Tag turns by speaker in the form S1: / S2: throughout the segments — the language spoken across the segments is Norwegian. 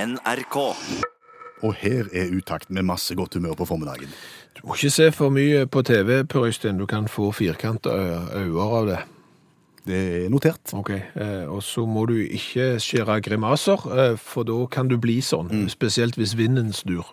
S1: NRK.
S2: Og her er utakt med masse godt humør på formiddagen.
S3: Du må ikke se for mye på TV, Per Øystein. Du kan få firkanta eh, øyne av det.
S2: Det er notert.
S3: Ok, eh, Og så må du ikke skjære grimaser, eh, for da kan du bli sånn. Spesielt hvis vinden snur.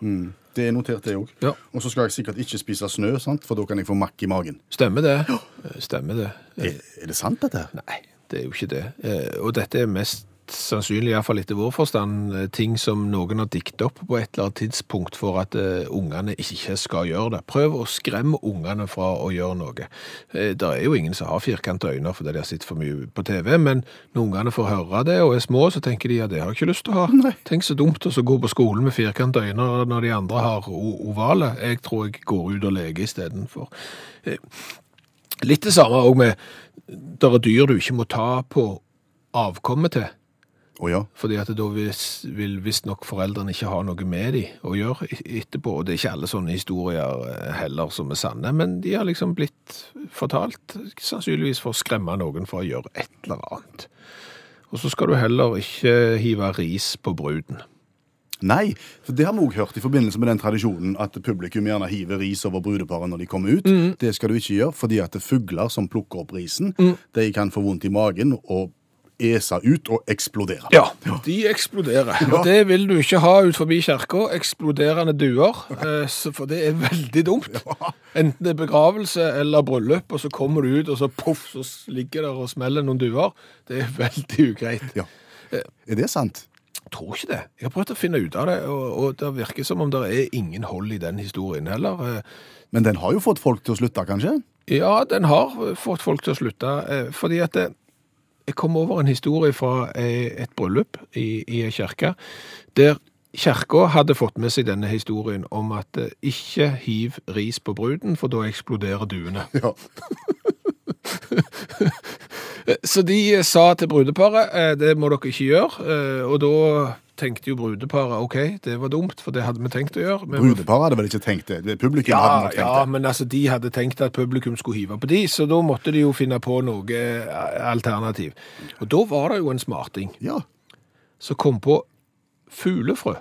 S2: Det er notert, det òg.
S3: Ja.
S2: Og så skal jeg sikkert ikke spise snø, sant? for da kan jeg få makk i magen.
S3: Stemmer det? Eh, Stemmer det? Eh,
S2: Er, er det sant, dette? her?
S3: Nei, det er jo ikke det. Eh, Og dette er mest sannsynlig, iallfall etter vår forstand, eh, ting som noen har diktet opp på et eller annet tidspunkt for at eh, ungene ikke skal gjøre det. Prøv å skremme ungene fra å gjøre noe. Eh, Det er jo ingen som har firkanta øyne fordi de har sett for mye på TV, men når ungene får høre det og er små, så tenker de at det har jeg ikke lyst til å ha.
S2: Nei.
S3: Tenk så dumt å så gå på skolen med firkanta øyne når de andre har o- ovale. Jeg tror jeg går ut og leker istedenfor. Eh, Litt det samme òg med der er dyr du ikke må ta på avkommet til,
S2: Å ja.
S3: fordi at da vis, vil visstnok foreldrene ikke ha noe med de å gjøre et- etterpå, og det er ikke alle sånne historier eh, heller som er sanne, men de har liksom blitt fortalt, sannsynligvis for å skremme noen for å gjøre et eller annet. Og så skal du heller ikke hive ris på bruden.
S2: Nei, for det har vi òg hørt i forbindelse med den tradisjonen at publikum gjerne hiver ris over brudeparet når de kommer ut.
S3: Mm.
S2: Det skal du ikke gjøre, fordi at fugler som plukker opp risen, de kan få vondt i magen og ese ut og eksplodere.
S3: Ja, de eksploderer. Og det vil du ikke ha ut forbi kirka, eksploderende duer, eh, så- for det er veldig dumt. Enten det er begravelse eller bryllup, og så kommer du ut, og så poff, så s- ligger der og smeller noen duer. Det er veldig ugreit.
S2: Ja.
S3: Eh.
S2: Er det sant?
S3: Jeg tror ikke det. Jeg har prøvd å finne ut av det, og, og det virker som om det er ingen hold i den historien heller. Eh,
S2: Men den har jo fått folk til å slutte, kanskje?
S3: Ja, den har fått folk til å slutte, eh, fordi at eh, jeg kom over en historie fra eh, et bryllup i, i en kirke, der kirka hadde fått med seg denne historien om at eh, ikke hiv ris på bruden, for da eksploderer duene.
S2: Ja.
S3: Eh, Så de eh, sa til brudeparet, eh, det må dere ikke gjøre, eh, og da tenkte jo brudeparet, ok, det var dumt, for det hadde vi tenkt å gjøre. men vi
S2: Brudeparet hadde vel ikke tenkt det? Det- Publikum hadde
S3: Ja,
S2: nok tenkt
S3: ja,
S2: det.
S3: men altså, de hadde tenkt at publikum skulle hive på de, så da måtte de jo finne på noe eh, alternativ. Og da var det jo en smarting
S2: Ja.
S3: som kom på fuglefrø.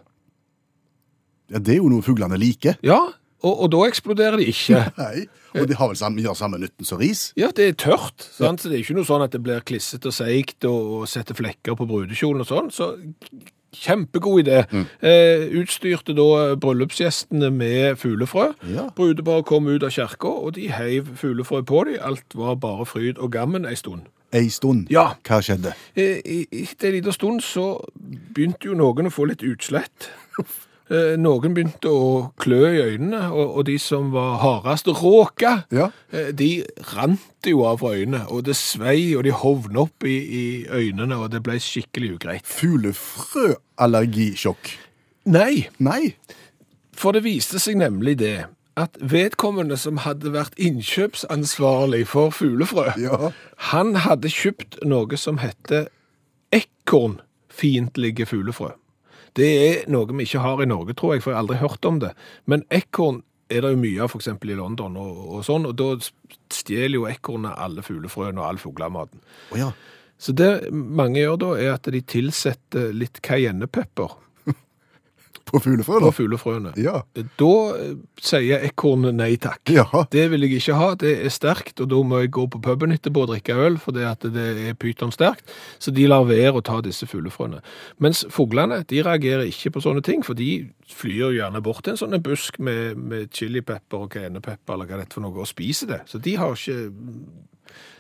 S2: ja, det er jo noe fuglene liker.
S3: Ja, og, og da eksploderer de ikke.
S2: Nei. Og de har vel samme, gjør samme nytten som ris?
S3: Ja, det er tørt, sant? så det er ikke noe sånn at det blir klissete og seigt og, og setter flekker på brudekjolen og sånn, så kjempegod idé.
S2: Mm.
S3: Eh, utstyrte da bryllupsgjestene med fuglefrø.
S2: Ja.
S3: Brudeparet kom ut av kirka, og de heiv fuglefrø på dem. Alt var bare fryd og gammen ei stund.
S2: Ei stund.
S3: Ja.
S2: Hva skjedde?
S3: Eh, i- Etter en liten stund så begynte jo noen å få litt utslett. Eh, Noen begynte å klø i øynene, og, og de som var hardest råka,
S2: Ja.
S3: eh, de rant jo av øynene, og det svei, og de hovna opp i, i øynene, og det ble skikkelig ugreit.
S2: Fuglefrøallergisjokk.
S3: Nei,
S2: Nei.
S3: for det viste seg nemlig det, at vedkommende som hadde vært innkjøpsansvarlig for fuglefrø,
S2: Ja.
S3: han hadde kjøpt noe som heter ekornfiendtlige fuglefrø. Det er noe vi ikke har i Norge, tror jeg, for jeg har aldri hørt om det. Men ekorn er det jo mye av, f.eks. i London og, og sånn, og da stjeler jo ekornet alle fuglefrøene og all fuglematen.
S2: Å ja.
S3: Så det mange gjør da, er at de tilsetter litt cayennepepper
S2: På fuglefrø, da?
S3: på fuglefrøene.
S2: Ja.
S3: Da eh, sier ekornet nei takk.
S2: Ja.
S3: Det vil jeg ikke ha, det er sterkt, og da må jeg gå på puben etterpå og drikke øl, for det, at det er pytonsterkt. Så de lar være å ta disse fuglefrøene. Mens fuglene de reagerer ikke på sånne ting, for de flyr jo gjerne bort til en sånn en busk med, med chilipepper og cayennepepper eller hva det er for noe, og spiser det. Så de har ikke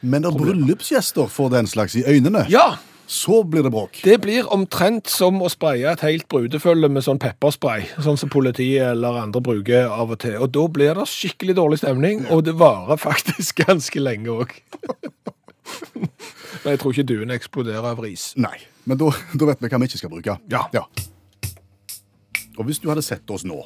S2: Men når bryllupsgjester får den slags i øynene,
S3: Ja!
S2: så blir det bråk.
S3: Det blir omtrent som å spraye et helt brudefølge med sånn pepperspray, sånn som politiet eller andre bruker av og til. Og da blir det skikkelig dårlig stemning, og det varer faktisk ganske lenge òg. Men jeg tror ikke duene eksploderer av ris.
S2: Nei. Men da, da vet vi hva vi ikke skal bruke.
S3: Ja.
S2: Og hvis du hadde sett oss nå,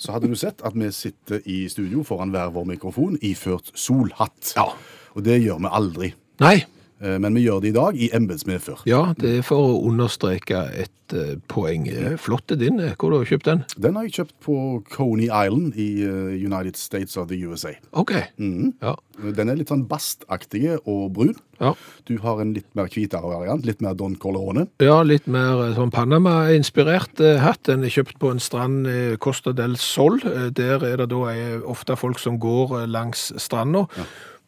S2: så hadde du sett at vi sitter i studio foran hver vår mikrofon iført solhatt.
S3: Ja.
S2: Og det gjør vi aldri.
S3: Nei.
S2: Eh, Men vi gjør det i dag i embets medfør.
S3: Ja, det er for å understreke et eh, poeng. Eh, Flott er din. eh. Hvor har du kjøpt den?
S2: Den har jeg kjøpt på Coney Island i eh, United States of the USA.
S3: OK. Mm. Ja.
S2: Den er litt sånn bastaktige og brun.
S3: Ja.
S2: Du har en litt mer hvitere variant, litt mer Don Colorone.
S3: ja, litt mer eh, sånn Panama-inspirert eh, hatt. Den er kjøpt på en strand eh, Costa del Sol. Eh, Der er det da eh, ofte folk som går eh, langs stranda.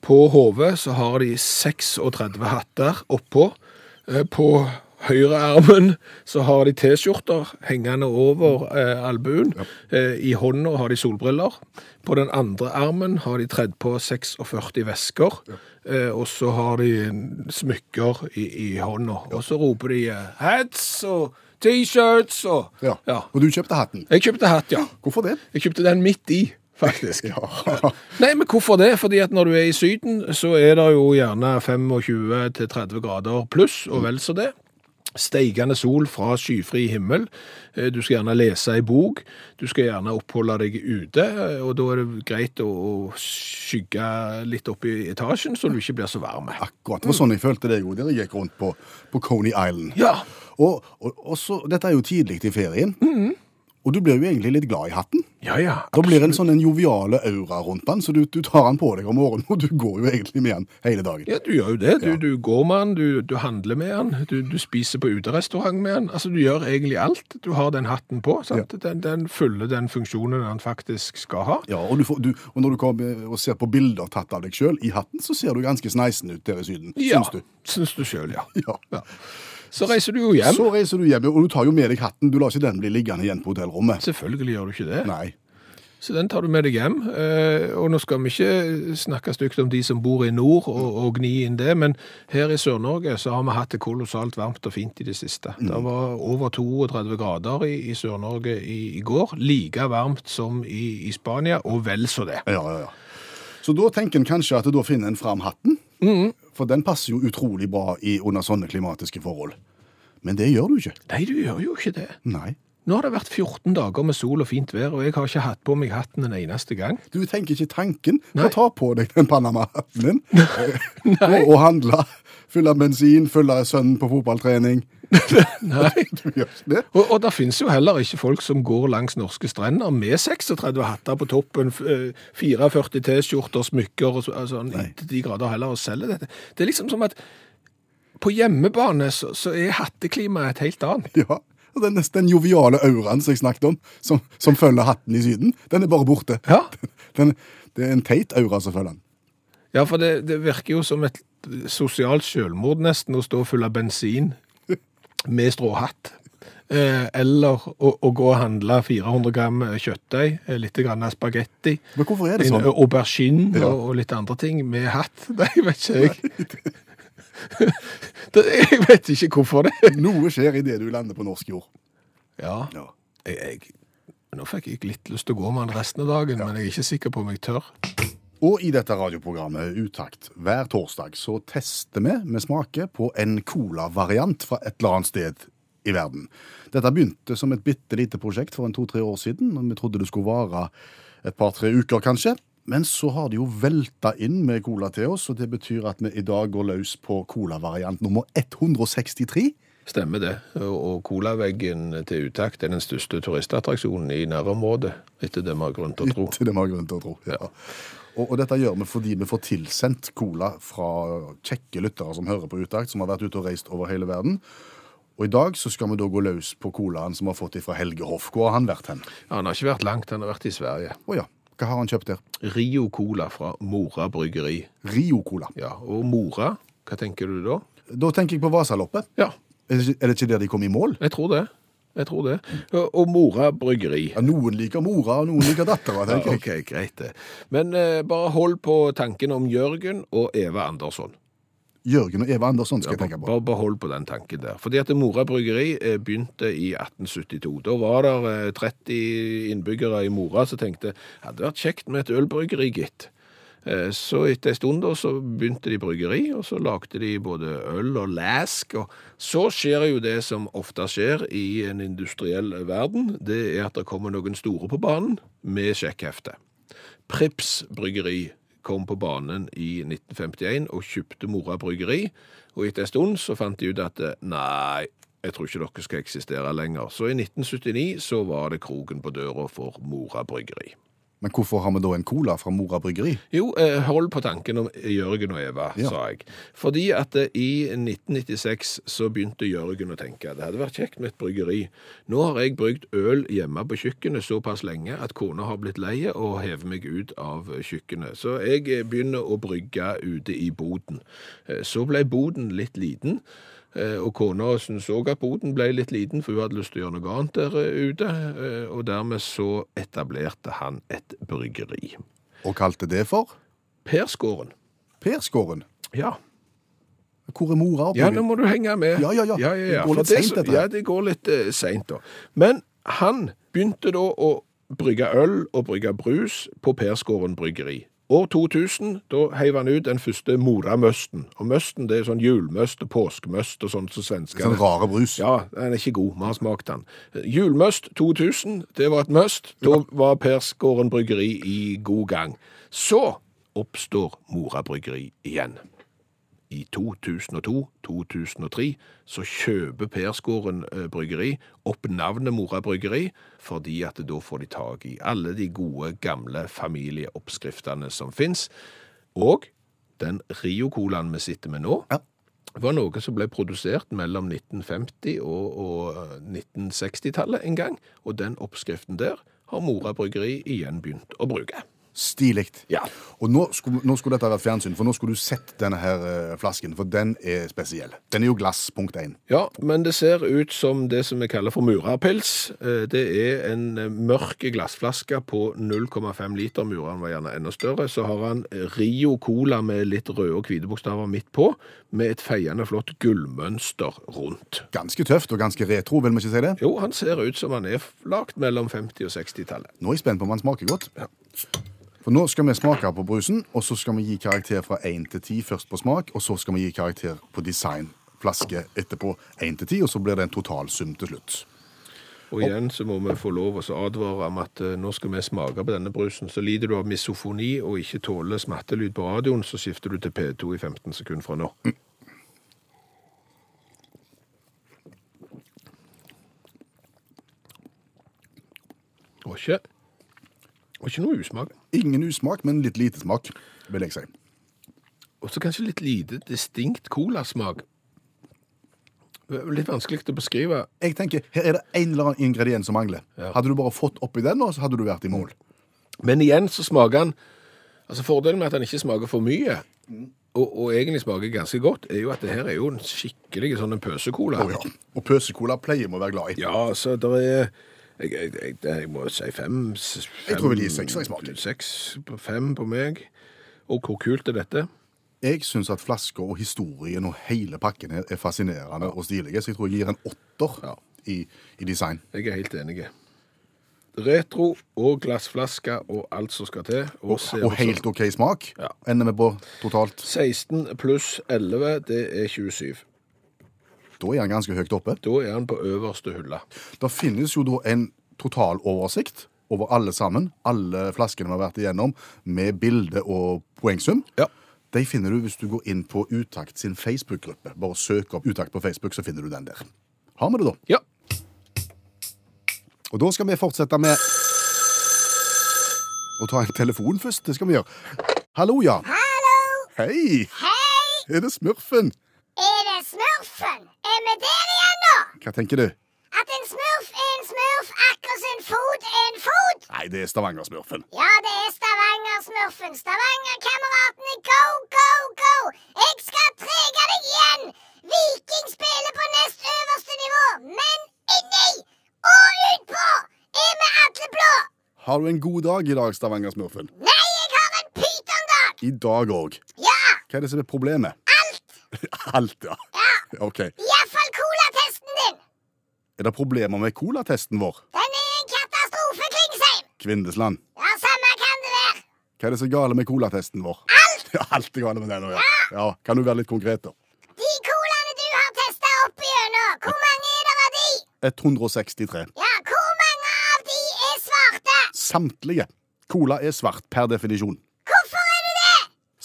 S3: På hodet så har de 36 hatter oppå. Eh, På høyrearmen så har de T-skjorter hengende over eh, albuen. Eh, I hånda har de solbriller. På den andre armen har de tredd på 46 vesker. Eh, og så har de smykker i, i hånda. Og så roper de eh, hats og T-shirts og
S2: Ja.
S3: ja.
S2: Og du kjøpte hatten.
S3: Jeg kjøpte hatt, ja.
S2: Hvorfor det?
S3: Jeg kjøpte den midt i, faktisk.
S2: Ja.
S3: Nei, men hvorfor det? Fordi at når du er i syden, så er det jo gjerne 25-30 grader pluss, og vel så det. Steigende sol fra skyfri himmel. Eh, Du skal gjerne lese ei bok. Du skal gjerne oppholde deg ute, eh, og da er det greit å å skygge litt opp i etasjen, så du ikke blir så varm.
S2: Akkurat. Det var sånn jeg følte deg òg der jeg gikk rundt på, på Coney Island.
S3: Ja,
S2: Og, og, og så, dette er jo tidlig i ferien, og du blir jo egentlig litt glad i hatten.
S3: ja, ja.
S2: Da blir det en sånn en joviale aura rundt den, så du, du tar den på deg om morgenen, og du går jo egentlig med den hele dagen.
S3: Ja, du gjør jo det. Du, du går med den, du, du handler med den, du, du spiser på uterestaurant med den. Altså, du gjør egentlig alt. Du har den hatten på, sant? Den, den fyller den funksjonen den faktisk skal ha.
S2: Ja, og, du får, du, og når du kommer og ser på bilder tatt av deg sjøl i hatten, så ser du ganske sneisen ut der i Syden, syns du.
S3: Syns du sjøl, ja.
S2: Ja.
S3: ja. Så reiser du jo hjem.
S2: Så reiser du hjem, og du tar jo med deg hatten. Du lar ikke den bli liggende igjen på hotellrommet.
S3: Selvfølgelig gjør du ikke det.
S2: Nei.
S3: Så den tar du med deg hjem. Eh, og nå skal vi ikke snakke stygt om de som bor i nord og, og gni inn det, men her i Sør-Norge så har vi hatt det kolossalt varmt og fint i det siste. Det var over 32 grader i, i Sør-Norge i, i går. Like varmt som i, i Spania, og vel så det.
S2: Ja, ja, ja. Så da tenker en kanskje at da finner en fram hatten,
S3: Mm.
S2: for den passer jo utrolig bra i, under sånne klimatiske forhold. Men det gjør du ikke.
S3: Nei, du gjør jo ikke det.
S2: Nei.
S3: Nå har det vært 14 dager med sol og fint vær, og jeg har ikke hatt på meg hatten en eneste gang.
S2: Du tenker ikke tanken på
S3: Nei.
S2: å ta på deg den Panama-hatten din og, og handle. Fylle bensin, fylle sønnen på fotballtrening.
S3: Nei.
S2: Du gjør ikke det.
S3: Og, og det finnes jo heller ikke folk som går langs norske strender med 36 hatter på toppen, f- eh, 44 T-skjorter, smykker og så- altså,
S2: Nei.
S3: til de grader heller og selger dette. Det er liksom som at på hjemmebane så, så er hatteklimaet et helt annet.
S2: Ja. Og Den, den joviale auraen som jeg snakket om, som, som følger hatten i Syden, den er bare borte.
S3: Ja,
S2: Den, det er en teit aura som følger den.
S3: ja for det, det virker jo som et sosialt selvmord nesten å stå full av bensin med stråhatt. Eh, eller å, å gå og handle 400 gram kjøttdeig, eh, litt grann spagetti.
S2: Men hvorfor er det
S3: En
S2: sånn?
S3: aubergine
S2: Ja.
S3: og, og litt andre ting med hatt. Nei, vet ikke jeg. Det- jeg vet ikke hvorfor det.
S2: Noe skjer idet du lander på norsk jord.
S3: Ja,
S2: Ja.
S3: jeg, jeg, nå fikk jeg litt lyst til å gå med den resten av dagen, men jeg er ikke sikker på om jeg tør.
S2: Og i dette radioprogrammet Utakt hver torsdag så tester vi med smake på en colavariant fra et eller annet sted i verden. Dette begynte som et bitte lite prosjekt for en to-tre år siden, og vi trodde det skulle vare et par-tre uker kanskje. Men så har det jo velta inn med cola til oss, og det betyr at vi i dag går løs på colavariant nummer 163.
S3: Stemmer det. Og og colaveggen til utakt er den største turistattraksjonen i nærområdet, etter det vi har grunn til å tro.
S2: Til det vi har grunn til å tro. Ja. Og, og dette gjør vi fordi vi får tilsendt cola fra kjekke lyttere som hører på Utakt, som har vært ute og reist over hele verden. Og i dag så skal vi da gå løs på colaen som vi har fått fra Helge Hoff. Hvor har han vært hen? Å
S3: Ja, han har ikke vært langt, han har vært i Sverige.
S2: ja, hva har han kjøpt der?
S3: Rio Cola fra Mora Bryggeri.
S2: Rio Cola.
S3: Ja, og Mora, hva tenker du da?
S2: Da tenker jeg på Vasaloppet.
S3: Ja,
S2: Er det ikke- er det ikke der de kom i mål?
S3: Jeg tror det. Jeg tror det. Og- Og Mora Bryggeri.
S2: Ja, noen liker mora, og noen liker dattera,
S3: Ja,
S2: tenker jeg.
S3: ok, greit det. Men eh, bare hold på tanken om Jørgen og Eva Andersson.
S2: Jørgen og Eva Andersson Sånn skal jeg tenke på.
S3: Bare behold på den tanken der. Fordi at Mora Bryggeri eh, begynte i 1872. Da var det 30 innbyggere i Mora som tenkte hadde vært kjekt med et ølbryggeri, gitt. Eh, Så etter en stund da, så begynte de bryggeri, og så lagde de både øl og læsk. Og så skjer jo det som ofte skjer i en industriell verden, det er at det kommer noen store på banen med sjekkhefte. Prips bryggeri kom på banen i 1951 og kjøpte Mora bryggeri. Og etter en stund så fant de ut at eh, nei, jeg tror ikke dere skal eksistere lenger. Så i 1979 så var det kroken på døra for Mora bryggeri.
S2: Men hvorfor har vi da en cola fra Mora bryggeri?
S3: Jo, eh, hold på tanken om Jørgen og Eva,
S2: Ja.
S3: sa jeg. Fordi at eh, i 1996 så begynte Jørgen å tenke det hadde vært kjekt med et bryggeri. Nå har jeg brygd øl hjemme på kjøkkenet såpass lenge at kona har blitt lei og hever meg ut av kjøkkenet. Så jeg eh, begynner å brygge ute i boden. Eh, Så ble boden litt liten. Eh, Og kona syntes òg at boden ble litt liten, for hun hadde lyst til å gjøre noe annet der eh, ute. Eh, Og dermed så etablerte han et bryggeri.
S2: Og kalte det for
S3: Persgården.
S2: Persgården.
S3: Ja.
S2: Hvor er Mora
S3: ja, nå
S2: oppbygd?
S3: må du henge med.
S2: Ja, ja, ja.
S3: ja, ja,
S2: Det
S3: ja.
S2: går
S3: For
S2: litt sent,
S3: som-
S2: dette her.
S3: Ja, det går litt uh, seint, da. Men han begynte da å brygge øl og brygge brus på Persgården bryggeri. År 2000, da heiv han ut den første Moramøsten. Og møsten det er sånn julmøst og påskemøst og sånn som svenskene
S2: Sånn rare brus.
S3: Ja, den er ikke god. Vi har smakt den. Julmøst 2000, det var et must. Da var Persgården bryggeri i god gang. Så oppstår Mora bryggeri igjen. I 2002-2003 så kjøper Persgården eh, bryggeri opp navnet Mora bryggeri, fordi at da får de tak i alle de gode, gamle familieoppskriftene som fins. Og den Rio-colaen vi sitter med nå,
S2: Ja.
S3: var noe som ble produsert mellom 1950 og, og 1960-tallet en gang, og den oppskriften der har Mora Bryggeri igjen begynt å bruke.
S2: Stilig.
S3: Ja.
S2: Og nå skulle, nå skulle dette vært fjernsyn, for nå skulle du sett denne her eh, flasken, for den er spesiell. Den er jo glass, punkt én.
S3: Ja, men det ser ut som det som vi kaller for murarpils. Eh, Det er en eh, mørk glassflaske på 0,5 liter, mureren var gjerne enda større. Så har han Rio Cola med litt røde og hvite bokstaver midt på, med et feiende flott gullmønster rundt.
S2: Ganske tøft og ganske retro, vil vi ikke si det?
S3: Jo, han ser ut som han er lagt mellom 50- og 60-tallet.
S2: Nå er jeg spent på om han smaker godt. For nå skal vi smake på brusen, og så skal vi gi karakter fra 1 til 10 først på smak, og så skal vi gi karakter på design. Flaske etterpå 1 til 10, og så blir det en totalsum til slutt.
S3: Og igjen så må vi få lov å advare om at eh, nå skal vi smake på denne brusen. Så lider du av misofoni og ikke tåler smattelyd på radioen, så skifter du til P2 i 15 sekunder fra nå. Det var ikke, det var ikke noe usmak.
S2: Ingen usmak, men litt lite smak, vil jeg si.
S3: Og så kanskje litt lite distinkt colasmak. Litt vanskelig å beskrive.
S2: Jeg tenker, Her er det en eller annen ingrediens som mangler.
S3: Ja.
S2: Hadde du bare fått oppi den, nå, så hadde du vært i mål.
S3: Men igjen så smaker han Altså Fordelen med at han ikke smaker for mye, og, og egentlig smaker ganske godt, er jo at det her er jo en skikkelig sånn en pøsekola.
S2: Å ja. Og pøsekola pleier vi å være glad i.
S3: Ja, så der er jeg, jeg, jeg, jeg må si fem, s- fem
S2: Jeg tror vi gir sekser i smaken.
S3: Seks på fem på meg. Og hvor kult er dette?
S2: Jeg syns at flasker og historien og hele pakken her er fascinerende og stilige, så jeg tror jeg gir en åtter
S3: Ja.
S2: i, i design.
S3: Jeg er helt enig. Retro og glassflaske og alt som skal til. Og, ser
S2: Og
S3: ut som-
S2: helt OK smak
S3: Ja.
S2: ender vi på totalt.
S3: 16 pluss 11, det er 27.
S2: Da er den ganske høyt oppe.
S3: Da er han på øverste hylle.
S2: Det finnes jo da en totaloversikt over alle sammen, alle flaskene vi har vært igjennom, med bilde og poengsum.
S3: Ja.
S2: De finner du hvis du går inn på Utakt sin Facebook-gruppe. Bare søk opp Utakt på Facebook, så finner du den der. Har vi det, da.
S3: Ja.
S2: Og da skal vi fortsette med å ta en telefon først. Det skal vi gjøre. Hallo, ja.
S1: Hallo!
S2: Hei!
S1: Hei!
S2: Er det Smurfen?
S1: Er det smurfen? Er vi der igjen nå?
S2: Hva tenker du?
S1: At en smurf er en smurf, akkurat som en fot er en fot?
S2: Nei, det er Stavanger-Smurfen.
S1: Ja, det er Stavanger-smurfen. Stavanger-kameratene, go, go, go! Jeg skal trege deg igjen! Viking spiller på nest øverste nivå, men inni og utpå er vi alle blå.
S2: Har du en god dag i dag, Stavanger-Smurfen?
S1: Nei, jeg har en pytondag!
S2: I dag òg.
S1: Ja,
S2: Hva er det som er problemet?
S1: alt!
S2: Alt, ja. OK.
S1: Iallfall colatesten din.
S2: Er det problemer med colatesten vår?
S1: Den er en katastrofe, Klingsheim!
S2: Kvindesland.
S1: Ja, samme kan det være.
S2: Hva er det som er gale med colatesten vår?
S1: Alt!
S2: Ja, Alt er gale med den òg, ja. ja. Kan du være litt konkret, da?
S1: De colaene du har testa opp igjennom, hvor mange er det av de?
S2: 163.
S1: Ja, hvor mange av de er svarte?
S2: Samtlige. Cola er svart per definisjon.
S1: Hvorfor er du det?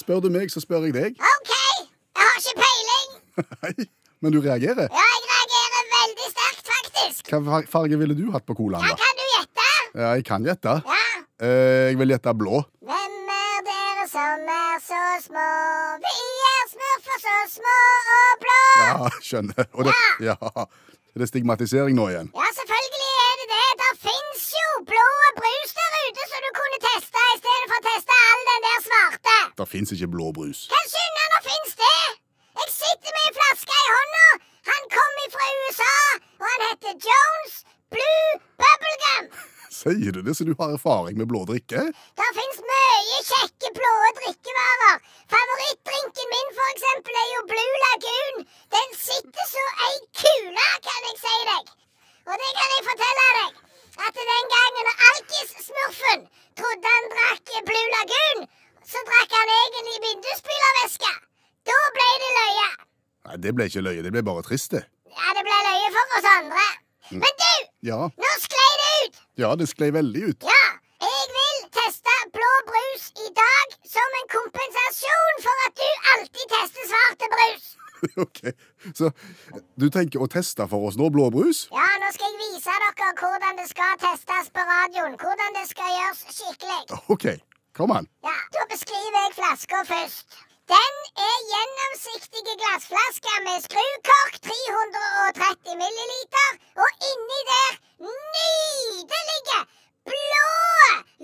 S2: Spør du meg, så spør jeg deg.
S1: OK, jeg har ikke peiling.
S2: Nei, Men du reagerer.
S1: Ja, jeg reagerer veldig sterkt, faktisk.
S2: Hva far- farge ville du hatt på colaen,
S1: Hva
S2: da?
S1: kan du gjette?
S2: Ja, jeg kan gjette.
S1: Ja.
S2: Eh, Jeg vil gjette blå.
S1: Hvem er dere som er så små? Vi er smurfer så små og blå.
S2: Ja, skjønner. Og det, ja. det er stigmatisering nå igjen.
S1: Ja, selvfølgelig er det det. Der fins jo blå brus der ute som du kunne teste i stedet for å teste all den der svarte.
S2: Det fins ikke blå brus.
S1: Kanskje unna nå fins det? Jeg sitter med en flaske i hånda. Han kom fra USA, og han heter Jones Blue Bubblegum.
S2: Sier du det, så du har erfaring med blå drikke?
S1: Der fins mye kjekke blå drikkevarer. Favorittdrinken min for eksempel er jo Blue Lagoon. Den sitter så ei kule, kan jeg si deg. Og det kan jeg fortelle deg. At den gangen Alkis-smurfen trodde han drakk Blue Lagoon, så drakk han egentlig vindusspylervæske. Da ble det løye.
S2: Nei, det ble ikke løye. Det ble bare trist, det.
S1: Ja, det ble løye for oss andre. Men du,
S2: Ja,
S1: nå sklei det ut.
S2: ja det sklei veldig ut.
S1: Ja, jeg vil teste blå brus i dag som en kompensasjon for at du alltid tester svarte brus.
S2: ok, Så du tenker å teste for oss nå blå brus?
S1: Ja, nå skal jeg vise dere hvordan det skal testes på radioen. Hvordan det skal gjøres skikkelig.
S2: Ok, kom an.
S1: Ja, Da beskriver jeg flaska først. Den er gjennomsiktige glassflaske med skrukork, 330 milliliter, og inni der nydelige, blå,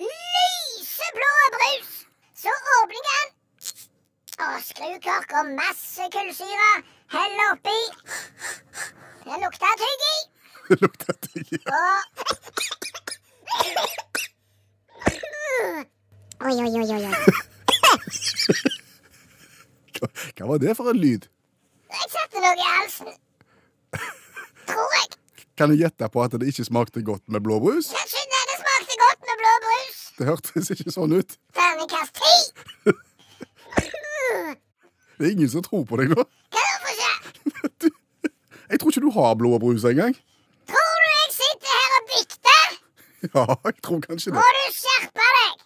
S1: lyseblå brus. Så åpner jeg den, og skrukork og masse kullsyre heller oppi. Det lukter tygg i.
S2: Det lukter digg.
S1: Og Oi, oi, oi, oi. oi.
S2: Hva hva var det for en lyd?
S1: Jeg setter noe i halsen. Tror jeg.
S2: Kan jeg gjette på at det ikke smakte godt med blå brus?
S1: Kanskje denne smakte godt med blå brus.
S2: Det hørtes ikke sånn ut.
S1: Terningkast ti.
S2: Det er ingen som tror på deg nå.
S1: Hva er det for skje?
S2: Du, jeg tror ikke du har blå brus engang.
S1: Tror du jeg sitter her og dikter?
S2: Ja, jeg tror kanskje
S1: Må
S2: det.
S1: du skjerpe deg?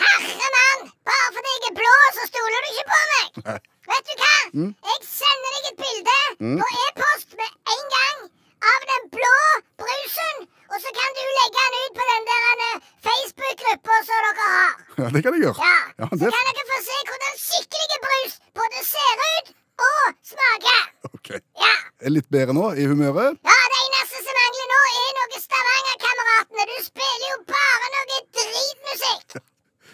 S1: Herre mann, bare fordi jeg er blå, så stoler du ikke på meg.
S2: Nei.
S1: Vet du hva? Jeg sender deg et bilde på e-post med en gang av den blå brusen, og så kan du legge den ut på den der eh, Facebook-gruppa som dere har.
S2: Ja, det kan jeg gjøre.
S1: Ja,
S2: Ja,
S1: Så
S2: det...
S1: kan dere få se hvordan skikkelige brus både ser ut og smaker.
S2: Ok.
S1: Ja.
S2: Er litt bedre nå i humøret?
S1: ja, det eneste som mangler nå, er noe Stavanger-kameratene. Du spiller jo bare noe dritmusikk.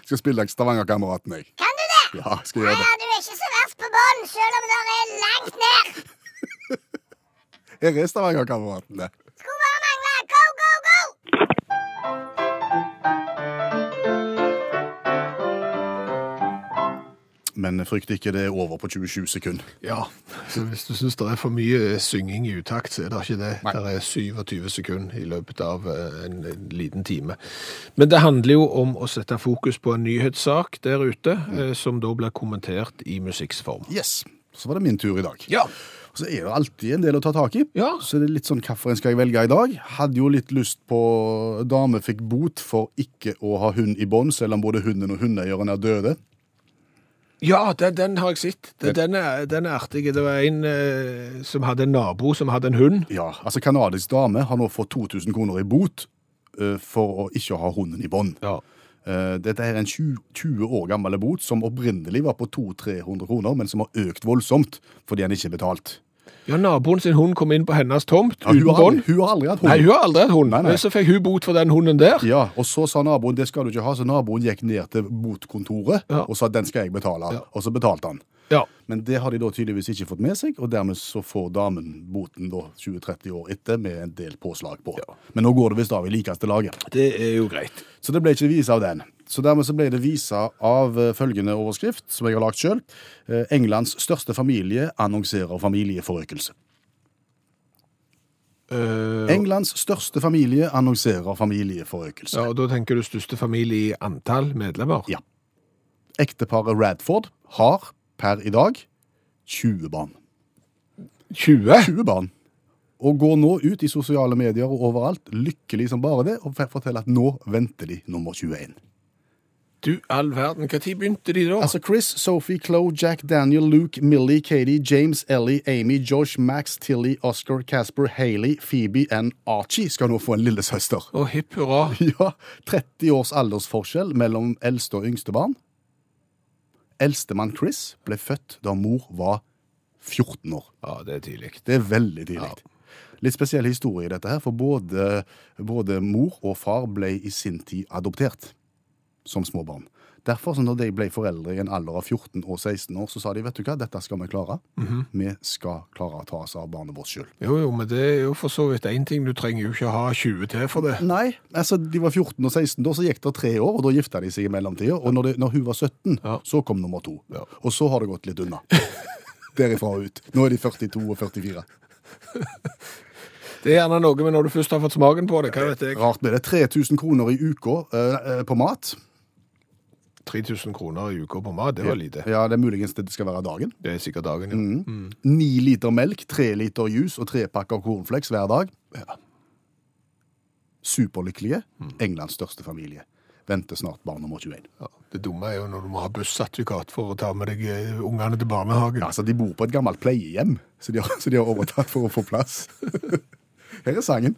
S2: Skal spille deg Stavanger-kameraten, jeg.
S1: Kan du det?
S2: Ja, skal
S1: Ja,
S2: gjøre det.
S1: ja, du er ikke så verst på bånn, sjøl om det er langt ned.
S2: Her er Stavanger-kameratene.
S1: Skulle bare mangle. Go, go, go!
S2: Men frykt ikke, det er over på 27 sekunder.
S3: Ja, så hvis du syns det er for mye eh, synging i utakt, så er det ikke det.
S2: Nei.
S3: Det er 27 sekunder i løpet av eh, en, en liten time. Men det handler jo om å sette fokus på en nyhetssak der ute, eh, som da blir kommentert i musikksform.
S2: Yes. Så var det min tur i dag.
S3: Ja.
S2: Og Så er det alltid en del å ta tak i.
S3: Ja.
S2: Så det er litt sånn hvilken skal jeg velge i dag? Hadde jo litt lyst på Dame fikk bot for ikke å ha hund i bånd, selv om både hunden og hundeeieren er døde.
S3: Ja, den, den har jeg sett. Den, den, er, den er artig. Det var en eh, som hadde en nabo som hadde en hund.
S2: Ja, altså Kanadisk dame har nå fått 2000 kroner i bot eh, for å ikke ha hunden i bånd.
S3: Ja.
S2: Eh, Dette er en 20 20 år gammel bot som opprinnelig var på 200-300 kroner, men som har økt voldsomt fordi han ikke er betalt.
S3: ja, naboen sin hund kom inn på hennes tomt
S2: Ja,
S3: uten
S2: hun, har
S3: bånd.
S2: aldri, hun har aldri hatt hund.
S3: Nei, hun har aldri hatt hund.
S2: Nei, nei.
S3: Men Så fikk hun bot for den hunden der.
S2: Ja, og så sa naboen det skal du ikke ha, så naboen gikk ned til botkontoret
S3: Ja.
S2: og sa den skal jeg betale, og så betalte han.
S3: Ja.
S2: Men det har de da tydeligvis ikke fått med seg, og dermed så får damen boten da 20-30 år etter med en del påslag på. Men nå går det visst av i likeste laget.
S3: Det er jo greit.
S2: Så det ble ikke vise av den. Så dermed så ble det visa av eh, følgende overskrift, som jeg har lagt sjøl. Englands største familie annonserer familieforøkelse.
S3: Eh,
S2: Englands største familie annonserer familieforøkelse.
S3: ja, og Da tenker du største familie i antall medlemmer?
S2: Ja. Ekteparet Radford har per i dag 20 barn.
S3: 20?
S2: 20 barn. Og går nå ut i sosiale medier og overalt, lykkelig som bare det, og forteller at nå venter de nummer 21.
S3: du all verden, hva tid begynte de da?
S2: Altså Chris, Sophie, Chloe, Jack, Daniel, Luke, Millie, Katie, James, Ellie, Amy, Josh, Max, Tilly, Oscar, Casper, Haley, Phoebe and Archie skal nå få en lillesøster.
S3: Å, hipp hurra.
S2: Ja, 30 års aldersforskjell mellom eldste og yngste barn. Eldstemann Chris ble født da mor var 14 år.
S3: Ja, det er tidlig.
S2: Det er veldig tidlig. Litt spesiell historie i dette her, for både, både mor og far ble i sin tid adoptert som små barn. Derfor, så når de ble foreldre i en alder av 14 og 16 år, så sa de vet du hva, dette skal vi klare.
S3: Mhm.
S2: Vi skal klare å ta oss av barnet vårt sjøl.
S3: Jo, jo, men det er jo for så vidt én ting. Du trenger jo ikke ha 20 til for det.
S2: Nei, altså de var 14 og 16 da, så gikk det tre år, og da gifta de seg i mellomtida. Og når, det, når hun var 17,
S3: Ja.
S2: så kom nummer to.
S3: Ja.
S2: Og så har det gått litt unna. Derifra og ut. Nå er de 42 og 44.
S3: Det er gjerne noe med når du først har fått smaken på det. Hva vet jeg?
S2: Rart med det. 3000 kroner i uka eh, eh, på mat.
S3: 3000 kroner i uka på mat, det var lite.
S2: Ja, Mm. det er muligens det skal være dagen.
S3: Det er sikkert dagen, ja.
S2: Ni liter melk, tre liter juice og tre pakker cornflakes hver dag. Superlykkelige. Englands største familie. Venter snart barn nummer 21.
S3: Ja, Det dumme er jo når du må ha bussertifikat for å ta med deg eh, ungene til barnehagen.
S2: Altså, De bor på et gammelt pleiehjem, så de har, så de har overtatt for å få plass. Her er sangen.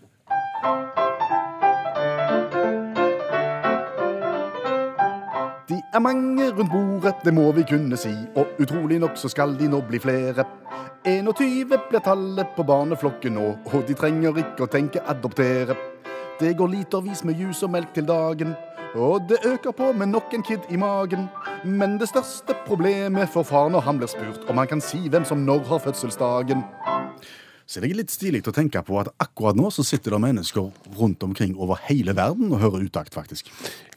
S2: De er mange rundt bordet, det må vi kunne si, og utrolig nok så skal de nå bli flere. 21 blir tallet på barneflokken nå, og de trenger ikke å tenke adoptere. Det går litervis med juice og melk til dagen, og det øker på med nok en kid i magen. Men det største problemet for far når han blir spurt om han kan si hvem som når har fødselsdagen. Så det er litt stilig å tenke på at akkurat nå så sitter det mennesker rundt omkring over hele verden og hører utakt, faktisk.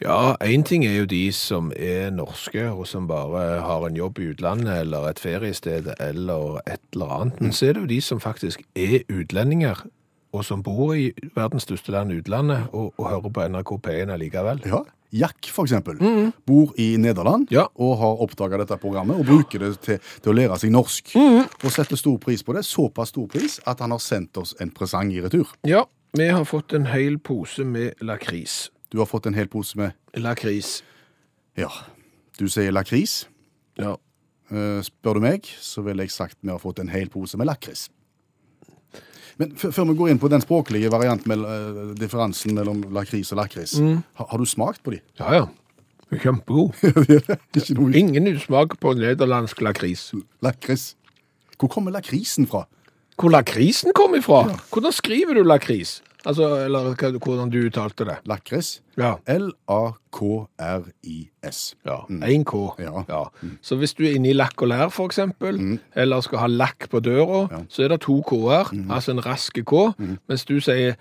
S3: Ja, én ting er jo de som er norske, og som bare har en jobb i utlandet eller et feriested eller et eller annet. Men så er det jo de som faktisk er utlendinger, og som bor i verdens største land, utlandet, og, og hører på NRK P1 allikevel.
S2: Ja. Jack, for eksempel, bor i Nederland
S3: Mm. Ja.
S2: og har oppdaga dette programmet og bruker det til, til å lære seg norsk.
S3: Mm.
S2: Og setter stor pris på det. Såpass stor pris at han har sendt oss en presang i retur.
S3: Ja, vi har fått en hel pose med lakris.
S2: Du har fått en hel pose med
S3: Lakris.
S2: Ja, du sier lakris.
S3: Ja.
S2: Eh, Spør du meg, så ville jeg sagt vi har fått en hel pose med lakris. Men f- før vi går inn på den språklige varianten med eh, differansen mellom lakris og lakris,
S3: Mm.
S2: ha, har du smakt på de?
S3: Ja, ja. Kjempegod.
S2: Ikke noe
S3: Ingen smak på nederlandsk lakris.
S2: lakris. Hvor kommer lakrisen fra?
S3: Hvor lakrisen kom ifra? Hvordan skriver du lakris? Altså, eller hva- hvordan du uttalte det?
S2: Lakris?
S3: Ja.
S2: L-A-K-R-I-S.
S3: Ja, 1K.
S2: Mm. Ja. Mm.
S3: Så hvis du er inne i lakk og lær, for eksempel, eller skal ha lakk på døra, så er det to K-er,
S2: Mm.
S3: altså en raske K, mens du sier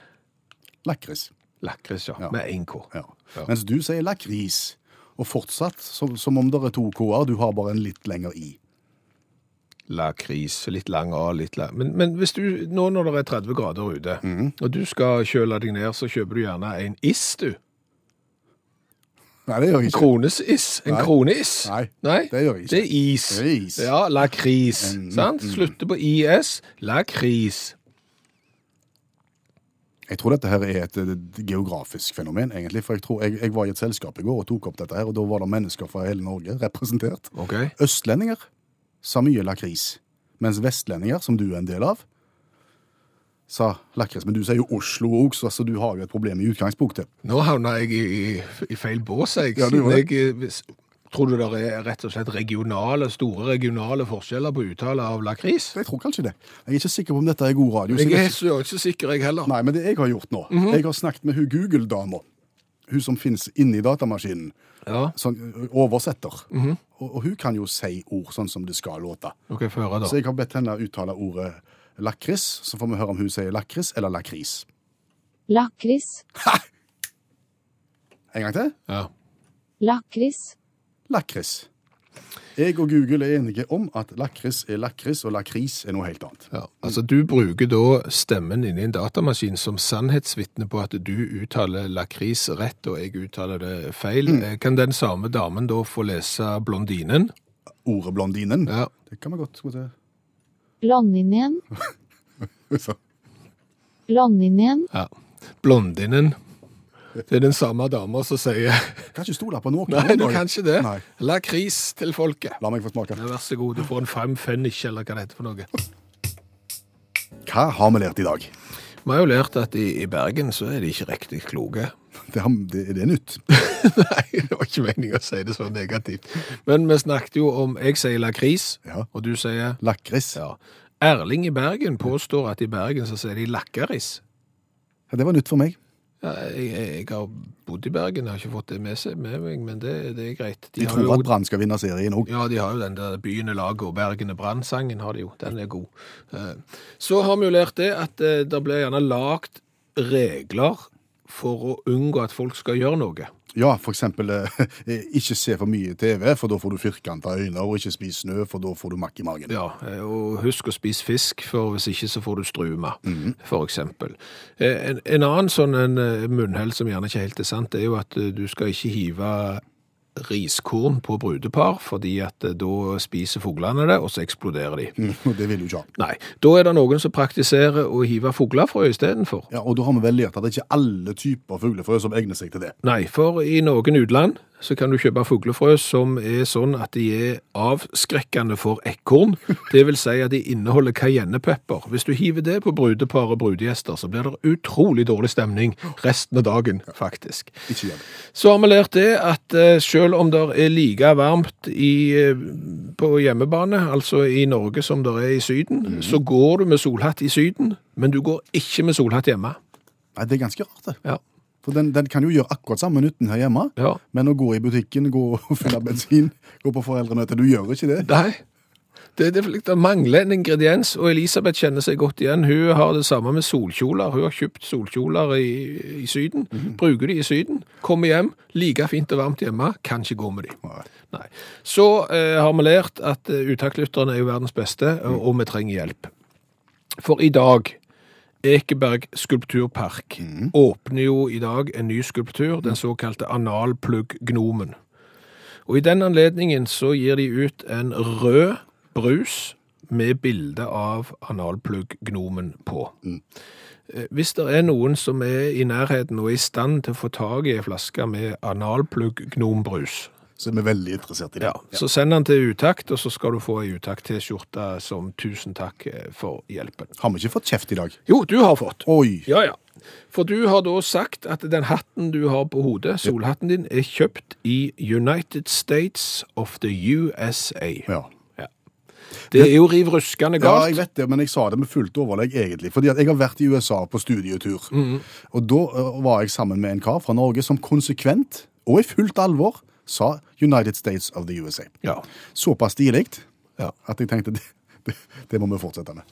S2: Lakris.
S3: lakris, ja, med 1K.
S2: Ja. Mens du sier lakris. Og fortsatt som, som om det er to k-er, du har bare en litt lenger i.
S3: Lakris, litt lang A, litt lang... Men, men hvis du, nå når det er 30 grader ute,
S2: Mm.
S3: og du skal kjøle deg ned, så kjøper du gjerne en is, du.
S2: Nei, det gjør jeg ikke.
S3: Kronesiss. En
S2: Nei.
S3: kroneiss.
S2: Nei, det gjør jeg ikke.
S3: Det er is.
S2: Det er is. Mm,
S3: Ja, lakris. Sant? Slutter på IS. Lakris.
S2: Jeg tror dette her er et, eh, geografisk fenomen, egentlig. For jeg tror jeg, jeg var i et selskap i går og tok opp dette her, og da var det mennesker fra hele Norge representert.
S3: Ok.
S2: Østlendinger sa mye lakris, mens vestlendinger, som du er en del av, sa lakris. Men du sier jo Oslo òg, så så du har jo et problem i utgangspunktet.
S3: Nå havna jeg i, i, i feil bås, jeg.
S2: Ja, du
S3: siden
S2: gjorde
S3: jeg eh, hvis- Tror du det er rett og slett regionale, store regionale forskjeller på uttale av lakris?
S2: Jeg tror kanskje det. Jeg er ikke sikker på om dette er god radio. så
S3: Jeg er
S2: jeg-
S3: så- ikke Mhm. sikker, jeg heller.
S2: Nei, men det jeg har gjort nå, jeg har snakket med hun Google-dama, hun som finnes inni datamaskinen,
S3: Ja.
S2: sånn ø, oversetter.
S3: Mhm.
S2: og, og hun kan jo si ord sånn som det skal låte.
S3: Ok, få høre,
S2: Så
S3: da.
S2: jeg har bedt henne uttale ordet lakris, så får vi høre om hun sier lakris eller lakris.
S4: Lakris,
S2: En gang til.
S3: Ja.
S4: lakris,
S2: Lakris. Jeg og Google er enige om at lakris er lakris, og lakris er noe helt annet.
S3: Ja. Altså, du bruker da stemmen inni en datamaskin som sannhetsvitne på at du uttaler lakris rett, og jeg uttaler det feil.
S2: Mm.
S3: Eh, Kan den samme damen da få lese Blondinen?
S2: Ordet blondinen,
S3: Ja.
S2: det kan vi godt gå til.
S4: Blondinen,
S2: Så,
S4: Blondinen,
S3: ja. Blondinen. Det er den samme dama som sier
S2: Kan ikke stole på noe.
S3: Nei, du kan ikke det.
S2: Nei.
S3: Lakris til folket.
S2: La meg få smake.
S3: Ja, Vær så god, du får en fem fennik, eller hva det heter for noe.
S2: Hva har vi lært i dag?
S3: Vi har jo lært at i, i Bergen så er de ikke riktig kloke.
S2: Det, har, det, det er nytt.
S3: Nei, det var ikke meningen å si det så negativt. Men vi snakket jo om Jeg sier lakris,
S2: Ja.
S3: og du sier
S2: Lakris.
S3: ja. Erling i Bergen påstår at i Bergen så sier de lakkaris.
S2: Ja, det var nytt for meg.
S3: Ja, jeg, jeg jeg har bodd i Bergen, jeg har ikke fått det med, seg, med meg, men det, det er greit.
S2: De
S3: har
S2: tror
S3: jo,
S2: at Brann skal vinne serien òg.
S3: Ja, de har jo den der Byen er laget og Bergen er brannsangen har de jo. Den er god. Eh, Så har vi jo lært det at eh, det blir gjerne lagt regler for å unngå at folk skal gjøre noe.
S2: Ja, for eksempel eh, ikke se for mye TV, for da får du firkanta øyne, og ikke spis snø, for da får du makk i magen.
S3: Ja, eh, og husk å spise fisk, for hvis ikke så får du struma, for eksempel. Eh, En, en annen sånn en eh, munnhell som gjerne ikke helt er sant, det er jo at eh, du skal ikke hive riskorn på brudepar, fordi at eh, da spiser fuglene det, og så eksploderer de.
S2: Mm, og det vil du ikke ha.
S3: Nei, da er det noen som praktiserer å hive fuglefrø istedenfor.
S2: Ja, Og da har vi vel lært at det er ikke alle typer fuglefrø som egner seg til det.
S3: Nei, for i noen utland så kan du kjøpe fuglefrø som er sånn at de er avskrekkende for ekorn. Det vil si at de inneholder cayennepepper. Hvis du hiver det på brudepar og brudegjester, så blir det utrolig dårlig stemning resten av dagen, faktisk.
S2: Ikke gjør det.
S3: Så har vi lært det at eh, selv om det er like varmt i, eh, på hjemmebane, altså i Norge som det er i Syden, så går du med solhatt i Syden, men du går ikke med solhatt hjemme.
S2: Nei, Det er ganske rart, det.
S3: Ja.
S2: For den, den kan jo gjøre akkurat samme nytten her hjemme,
S3: Ja.
S2: men å gå i butikken, gå og fylle bensin, gå på foreldremøte Du gjør ikke det.
S3: Nei. Det, det, det mangler en ingrediens, og Elisabeth kjenner seg godt igjen. Hun har det samme med solkjoler. Hun har kjøpt solkjoler i, i Syden. Bruker de i Syden. Kommer hjem, like fint og varmt hjemme. Kan ikke gå med de.
S2: Nei.
S3: Nei. Så eh, har vi lært at eh, uttaktlytterne er jo verdens beste, og, og vi trenger hjelp. For i dag Ekeberg skulpturpark åpner jo i dag en ny skulptur, den såkalte analplugg-gnomen. Og i den anledningen så gir de ut en rød brus med bilde av analplugg-gnomen på. Eh, Hvis det er noen som er i nærheten og er i stand til å få tak i ei flaske med analplugg-gnombrus,
S2: Så vi er veldig interessert i det.
S3: ja, så send den til utakt, og så skal du få ei utakt-T-skjorte som tusen takk eh, for hjelpen.
S2: Har vi ikke fått kjeft i dag?
S3: Jo, du har fått.
S2: Oi!
S3: Ja, ja. For du har da sagt at den hatten du har på hodet, solhatten din, er kjøpt i United States of the USA.
S2: Ja.
S3: Ja. Det er jo riv ruskende
S2: Ja,
S3: galt.
S2: jeg vet det, men jeg sa det med fullt overlegg, egentlig. Fordi at jeg har vært i USA på studietur.
S3: Mhm.
S2: Og da eh, var jeg sammen med en kar fra Norge som konsekvent, og i fullt alvor, sa United States of the USA.
S3: Ja.
S2: Såpass stilig
S3: Ja.
S2: at jeg tenkte det, det, det må vi fortsette med.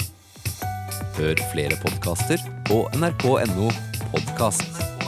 S5: Hør flere podkaster på nrk.no podkast.